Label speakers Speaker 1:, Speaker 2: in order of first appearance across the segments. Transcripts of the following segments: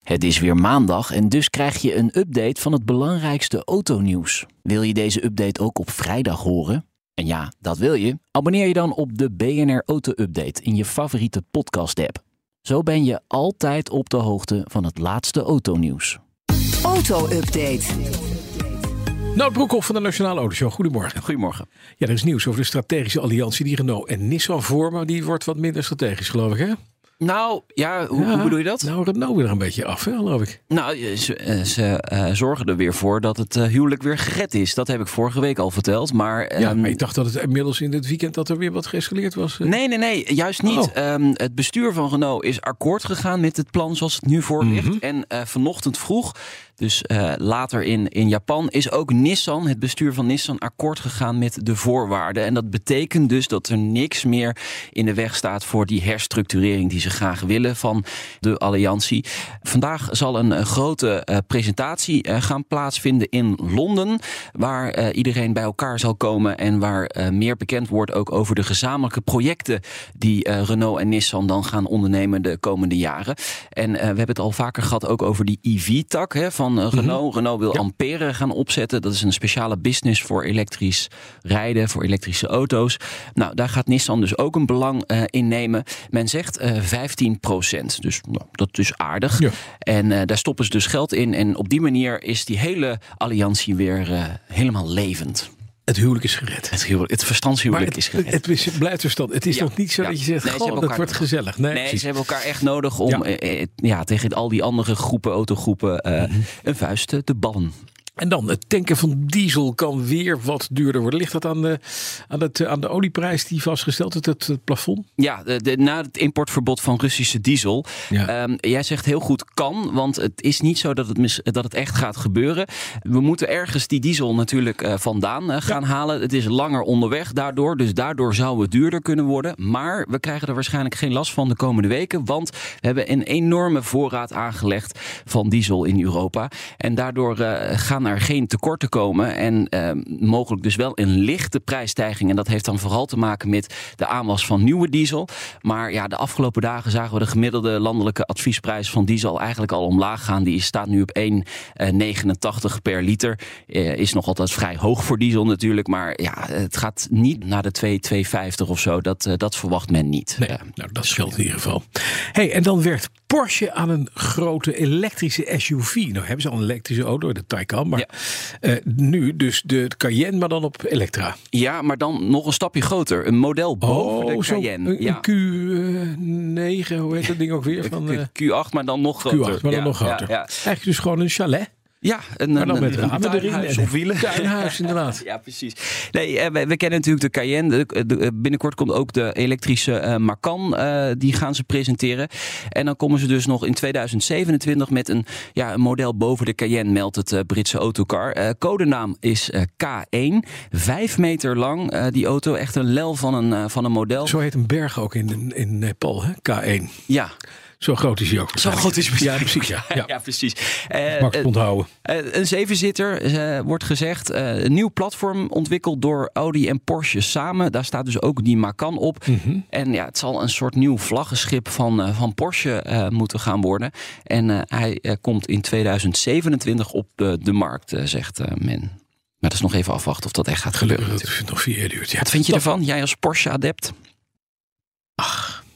Speaker 1: Het is weer maandag en dus krijg je een update van het belangrijkste autonieuws. Wil je deze update ook op vrijdag horen? En ja, dat wil je. Abonneer je dan op de BNR Auto Update in je favoriete podcast app. Zo ben je altijd op de hoogte van het laatste autonieuws.
Speaker 2: Auto-update.
Speaker 3: Nou, Broekhoff van de Nationale Autoshow. Goedemorgen.
Speaker 1: Goedemorgen.
Speaker 3: Ja, er is nieuws over de strategische alliantie die Renault en Nissan vormen. Die wordt wat minder strategisch, geloof ik, hè?
Speaker 1: Nou, ja, hoe,
Speaker 3: Ja,
Speaker 1: hoe bedoel je dat?
Speaker 3: Nou, Renault weer een beetje af, hè, geloof ik.
Speaker 1: Nou, ze, ze, eh, zorgen er weer voor dat het eh, huwelijk weer gered is. Dat heb ik vorige week al verteld. Maar,
Speaker 3: Ja,
Speaker 1: ehm,
Speaker 3: maar ik dacht dat het inmiddels in het weekend dat er weer wat geëscaleerd was. eh.
Speaker 1: Nee, nee, nee, juist niet.
Speaker 3: Oh.
Speaker 1: Ehm, het bestuur van Renault is akkoord gegaan met het plan zoals het nu voor ligt. En eh, vanochtend vroeg, dus eh, later in, in Japan, is ook Nissan, het bestuur van Nissan, akkoord gegaan met de voorwaarden. En dat betekent dus dat er niks meer in de weg staat voor die herstructurering die ze graag willen van de alliantie. Vandaag zal een eh, grote eh, presentatie eh, gaan plaatsvinden in Londen, waar eh, iedereen bij elkaar zal komen en waar eh, meer bekend wordt ook over de gezamenlijke projecten die eh, Renault en Nissan dan gaan ondernemen de komende jaren. En eh, we hebben het al vaker gehad ook over die EV-tak hè, van
Speaker 3: Mhm.
Speaker 1: eh, Renault. Renault wil Ampere gaan opzetten. Dat is een speciale business voor elektrisch rijden, voor elektrische auto's. Nou, daar gaat Nissan dus ook een belang eh, in nemen. Men zegt eh 15 procent. Dus nou, dat is aardig.
Speaker 3: Ja.
Speaker 1: En eh, daar stoppen ze dus geld in. En op die manier is die hele alliantie weer eh, helemaal levend.
Speaker 3: Het huwelijk is gered.
Speaker 1: Het, huwelijk- het
Speaker 3: Maar
Speaker 1: verstandshuwelijk
Speaker 3: het,
Speaker 1: is gered.
Speaker 3: het is- het blijft dus dat. Het is
Speaker 1: Ja,
Speaker 3: nog niet zo
Speaker 1: ja.
Speaker 3: dat je zegt,
Speaker 1: Nee, ze
Speaker 3: "Goh,
Speaker 1: hebben
Speaker 3: dat
Speaker 1: elkaar
Speaker 3: wordt
Speaker 1: nodig."
Speaker 3: gezellig. Nee,
Speaker 1: Nee,
Speaker 3: precies.
Speaker 1: ze hebben elkaar echt nodig om
Speaker 3: Ja.
Speaker 1: eh, eh, ja, tegen al die andere groepen, autogroepen, eh,
Speaker 3: Mhm.
Speaker 1: een vuist eh, te ballen.
Speaker 3: En dan, het tanken van diesel kan weer wat duurder worden. Ligt dat aan de, aan het, eh, aan de olieprijs die vastgesteld is, het, het plafond?
Speaker 1: Ja, de, de- na het importverbod van Russische diesel.
Speaker 3: Ja.
Speaker 1: Ehm, jij zegt heel goed kan, want het is niet zo dat het, mis- dat het echt gaat gebeuren. We moeten ergens die diesel natuurlijk eh, vandaan eh, gaan halen. Het is langer onderweg daardoor, dus daardoor zou het duurder kunnen worden. Maar we krijgen er waarschijnlijk geen last van de komende weken, want we hebben een enorme voorraad aangelegd van diesel in Europa. En daardoor eh, gaan er geen tekorten komen en eh, mogelijk dus wel een lichte prijsstijging. En dat heeft dan vooral te maken met de aanwas van nieuwe diesel. Maar ja, de afgelopen dagen zagen we de gemiddelde landelijke adviesprijs van diesel eigenlijk al omlaag gaan. Die staat nu op 1,89 per liter. Eh, is nog altijd vrij hoog voor diesel natuurlijk. Maar ja, het gaat niet naar de 2,250 of zo. Dat, eh, dat verwacht men niet.
Speaker 3: Nee,
Speaker 1: Eh,
Speaker 3: nou dat scheelt in ieder geval. hey, en dan werkt Porsche aan een grote elektrische SUV. Nou hebben ze al een elektrische auto, de Taycan, maar
Speaker 1: Ja.
Speaker 3: eh, nu dus de Cayenne, maar dan op Elektra.
Speaker 1: ja, maar dan nog een stapje groter. Een model boven Oh, de
Speaker 3: Oh, zo
Speaker 1: Cayenne.
Speaker 3: een,
Speaker 1: ja.
Speaker 3: een Q9, hoe heet dat ding ook weer? Van, eh,
Speaker 1: Q8, maar dan nog groter.
Speaker 3: Q8, maar dan
Speaker 1: Ja,
Speaker 3: nog
Speaker 1: ja,
Speaker 3: groter.
Speaker 1: Ja,
Speaker 3: Eigenlijk dus gewoon een chalet,
Speaker 1: Ja, een,
Speaker 3: maar dan
Speaker 1: een,
Speaker 3: met
Speaker 1: een
Speaker 3: ramen erin.
Speaker 1: tuinhuis
Speaker 3: en
Speaker 1: op wielen.
Speaker 3: Tuinhuis, inderdaad.
Speaker 1: Ja, precies. Nee, eh, we, we kennen natuurlijk de Cayenne. De- de- eh, binnenkort komt ook de elektrische eh, Macan. eh, die gaan ze presenteren. En dan komen ze dus nog in 2027 met een, ja, een model boven de Cayenne, meldt het eh, Britse autocar. Eh, codenaam is eh, K1. Vijf meter lang, eh, die auto. Echt een lel van een, eh, van een model.
Speaker 3: Zo heet een berg ook in, in Nepal, hè? K1.
Speaker 1: Ja,
Speaker 3: Zo groot is hij ook.
Speaker 1: zo groot is het.
Speaker 3: Ja, precies. Ja. Ja.
Speaker 1: ja precies. Eh,
Speaker 3: Makkelijk
Speaker 1: eh,
Speaker 3: onthouden.
Speaker 1: Eh, een zevenzitter, eh, wordt gezegd. Eh, een nieuw platform ontwikkeld door Audi en Porsche samen. Daar staat dus ook die Macan op.
Speaker 3: Mhm.
Speaker 1: En ja, het zal een soort nieuw vlaggenschip van, eh, van Porsche eh, moeten gaan worden. En eh, hij eh, komt in 2027 op de, de markt, eh, zegt eh, men. Maar dat is nog even afwachten of dat echt gaat
Speaker 3: Gelukkig
Speaker 1: gebeuren.
Speaker 3: dat het nog vier jaar duurt. Ja.
Speaker 1: Wat vind je
Speaker 3: Dat-
Speaker 1: ervan? Jij als Porsche-adept?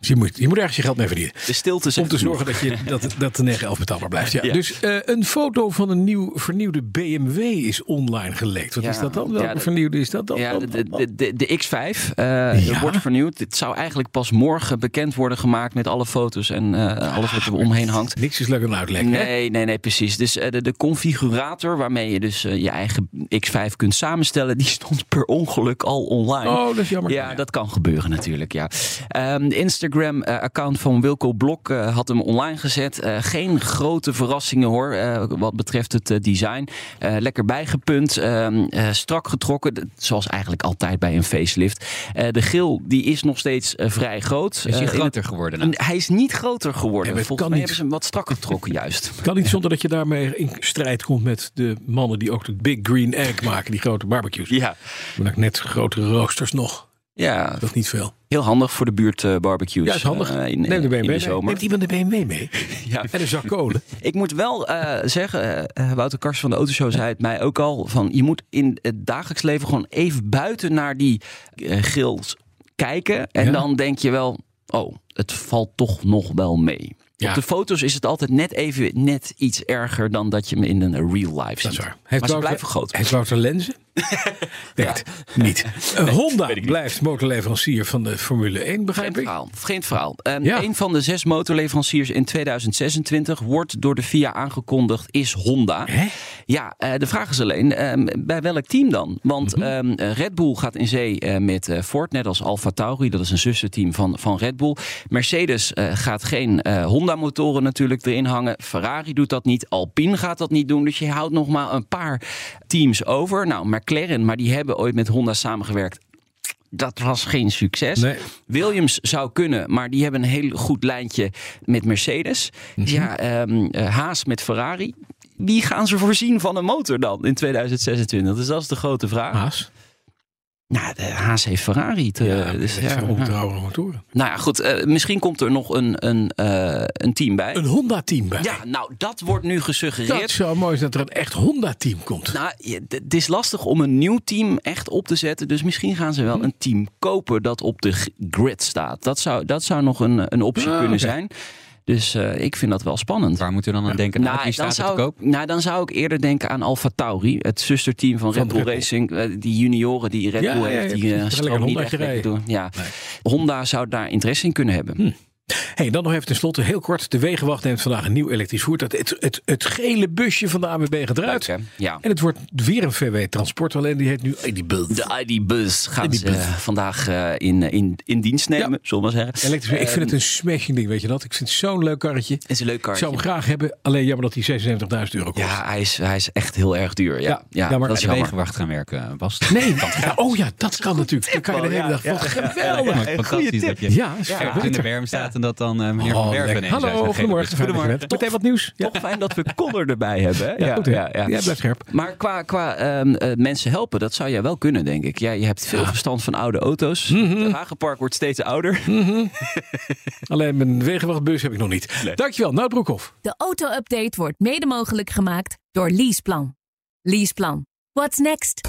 Speaker 3: Dus je, moet, je moet ergens je geld mee verdienen.
Speaker 1: De stilte
Speaker 3: Om
Speaker 1: zegt
Speaker 3: te
Speaker 1: genoeg.
Speaker 3: zorgen dat, je, dat, dat de 911 betaalbaar blijft. Ja.
Speaker 1: Ja.
Speaker 3: Dus eh, een foto van een nieuw vernieuwde BMW is online gelekt. Wat
Speaker 1: Ja,
Speaker 3: is dat dan?
Speaker 1: ja,
Speaker 3: Welke
Speaker 1: dat-
Speaker 3: vernieuwde is dat dan?
Speaker 1: Ja, de, de, de, de X5 eh,
Speaker 3: Ja?
Speaker 1: wordt vernieuwd. Dit zou eigenlijk pas morgen bekend worden gemaakt met alle foto's en eh, alles wat er omheen hangt.
Speaker 3: Niks is leuk aan uitleggen. hè?
Speaker 1: Nee, nee, nee, precies. Dus eh, de, de configurator waarmee je dus eh, je eigen X5 kunt samenstellen, die stond per ongeluk al online.
Speaker 3: Oh, dat is jammer.
Speaker 1: Ja, dat kan gebeuren natuurlijk. Ja. Ehm, Instagram-account van Wilco Blok eh, had hem online gezet. Eh, geen grote verrassingen hoor, eh, wat betreft het eh, design. Eh, lekker bijgepunt, ehm, eh, strak getrokken, d- zoals eigenlijk altijd bij een facelift. Eh, de geel die is nog steeds eh, vrij groot.
Speaker 4: Is hij
Speaker 1: Eh, in het-
Speaker 4: groter geworden? nou?
Speaker 1: En Hij is niet groter geworden.
Speaker 3: Nee, maar het
Speaker 1: Volgens mij
Speaker 3: kan niet.
Speaker 1: hebben ze hem wat strakker getrokken juist.
Speaker 3: Kan niet zonder dat je daarmee in strijd komt met de mannen die ook de Big Green Egg maken, die grote barbecues.
Speaker 1: Ja.
Speaker 3: Maar dan net grotere roosters nog.
Speaker 1: ja,
Speaker 3: Dat is niet veel.
Speaker 1: heel handig voor de buurt eh, barbecues.
Speaker 3: Ja, is handig.
Speaker 1: eh, in,
Speaker 3: Neem de BMW
Speaker 1: in de
Speaker 3: mee.
Speaker 1: zomer.
Speaker 3: Neemt iemand de BMW mee?
Speaker 1: Ja.
Speaker 3: En een zak kolen.
Speaker 1: Ik moet wel eh, zeggen, eh, eh, Wouter Kars van de Autoshow zei het mij ook al: van je moet in het dagelijks leven gewoon even buiten naar die eh grills kijken. En
Speaker 3: Ja.
Speaker 1: dan denk je wel: oh, het valt toch nog wel mee.
Speaker 3: Ja.
Speaker 1: Op de foto's is het altijd net even net iets erger dan dat je hem in een real life ziet.
Speaker 3: Dat is waar.
Speaker 1: Maar
Speaker 3: Heeft
Speaker 1: ze
Speaker 3: Wouter-
Speaker 1: blijven groot.
Speaker 3: Heeft Wouter lenzen? nee, het niet. Eh, Honda blijft motorleverancier van de Formule 1,
Speaker 1: Vreemd
Speaker 3: begrijp ik?
Speaker 1: verhaal. Vreemd verhaal. Ehm,
Speaker 3: Ja.
Speaker 1: Een van de zes motorleveranciers in 2026 wordt door de FIA aangekondigd is Honda.
Speaker 3: Hè?
Speaker 1: Ja, eh, de vraag is alleen, ehm, bij welk team dan? Want
Speaker 3: Mhm.
Speaker 1: ehm, eh, Red Bull gaat in zee eh, met eh, Ford, net als Alfa Tauri. Dat is een zusterteam van, van Red Bull. Mercedes eh, gaat geen eh, Honda-motoren natuurlijk erin hangen. Ferrari doet dat niet. Alpine gaat dat niet doen. Dus je houdt nog maar een paar teams over. Nou, McLaren, maar die hebben ooit met Honda samengewerkt. Dat was geen succes.
Speaker 3: Nee.
Speaker 1: Williams zou kunnen, maar die hebben een heel goed lijntje met Mercedes.
Speaker 3: Mhm.
Speaker 1: Ja, ehm, eh, Haas met Ferrari. Wie gaan ze voorzien van een motor dan in 2026? Dus dat is de grote vraag.
Speaker 3: Haas.
Speaker 1: Nou, de Haas heeft Ferrari. Te, dus,
Speaker 3: dat zijn
Speaker 1: ja, nou,
Speaker 3: onbetrouwbare motoren.
Speaker 1: nou ja, goed. eh, misschien komt er nog een, een, eh, een team bij.
Speaker 3: Een Honda-team bij.
Speaker 1: Ja, nou, dat wordt nu gesuggereerd.
Speaker 3: Dat zou mooi zijn dat er een echt Honda-team komt.
Speaker 1: Nou, je- d- het is lastig om een nieuw team echt op te zetten. Dus misschien gaan ze wel een team kopen dat op de g- grid staat. Dat zou, dat zou nog een, een optie
Speaker 3: Ah,
Speaker 1: kunnen
Speaker 3: oké.
Speaker 1: zijn. Dus eh, ik vind dat wel spannend.
Speaker 4: Waar moeten we dan aan denken? Nou, wie staat er te
Speaker 1: zou
Speaker 4: koop?
Speaker 1: ik, nou, dan zou ik eerder denken aan Alfa Tauri, het zusterteam van, Red Bull
Speaker 3: Red Bull.
Speaker 1: Racing. Eh, Die junioren die Red
Speaker 3: Ja,
Speaker 1: Bull
Speaker 3: ja, ja,
Speaker 1: heeft, die
Speaker 3: precies.
Speaker 1: eh,
Speaker 3: Lekker
Speaker 1: stromen niet
Speaker 3: Hondaatje
Speaker 1: echt lekker
Speaker 3: rijden.
Speaker 1: door. Ja. Honda zou daar interesse in kunnen hebben.
Speaker 3: Hey, dan nog even tenslotte, heel kort. De Wegenwacht neemt vandaag een nieuw elektrisch voertuig. Het, het, het gele busje van de AMB gaat eruit.
Speaker 1: Leuk, hè? Ja.
Speaker 3: En het wordt weer een VW-transport. Alleen die heet nu Edibult.
Speaker 1: De ID-bus gaan ze
Speaker 3: ID-bus.
Speaker 1: eh, vandaag eh, in, in, in dienst nemen, zullen we maar zeggen.
Speaker 3: Elektrisch. Ik
Speaker 1: Ehm,
Speaker 3: vind het een smashing ding, weet je dat? Ik vind het zo'n leuk karretje.
Speaker 1: het is een leuk
Speaker 3: Ik
Speaker 1: kaartje.
Speaker 3: zou hem graag hebben. Alleen jammer dat hij 76.000 euro kost.
Speaker 1: Ja, hij is, hij is echt heel erg duur. Ja,
Speaker 3: Ja,
Speaker 1: ja,
Speaker 3: jammer.
Speaker 1: dat
Speaker 4: Bij
Speaker 1: is
Speaker 4: de
Speaker 1: jammer.
Speaker 4: wegenwacht gaan werken, eh, was
Speaker 3: Nee, ja, oh ja, dat kan natuurlijk. Dan kan je de hele dag. Wat geweldig. Oh, Ja,
Speaker 4: Fantastisch dat je
Speaker 3: Ja, is veel
Speaker 4: ergens in de
Speaker 3: beter.
Speaker 4: berm staat en dat dan eh, meneer Van
Speaker 3: Oh,
Speaker 4: Werven
Speaker 3: lekker.
Speaker 4: ineens uit
Speaker 3: Hallo,
Speaker 4: een gele
Speaker 3: goedemorgen.
Speaker 4: bus-
Speaker 3: Goedemorgen. Meteen wat nieuws. Ja,
Speaker 1: Toch fijn dat we Connor erbij hebben. hè?
Speaker 3: ja, goed, hè? ja, blijf scherp.
Speaker 1: Maar qua, qua ehm, eh, mensen helpen, dat zou jij wel kunnen, denk ik. Jij je hebt veel verstand van oude auto's.
Speaker 3: Mhm.
Speaker 1: Het wagenpark wordt steeds ouder.
Speaker 3: Alleen mijn wegenwachtbus heb ik nog niet. Dankjewel, Nout Broekhoff.
Speaker 5: De auto-update wordt mede mogelijk gemaakt door Leaseplan. Leaseplan. What's next?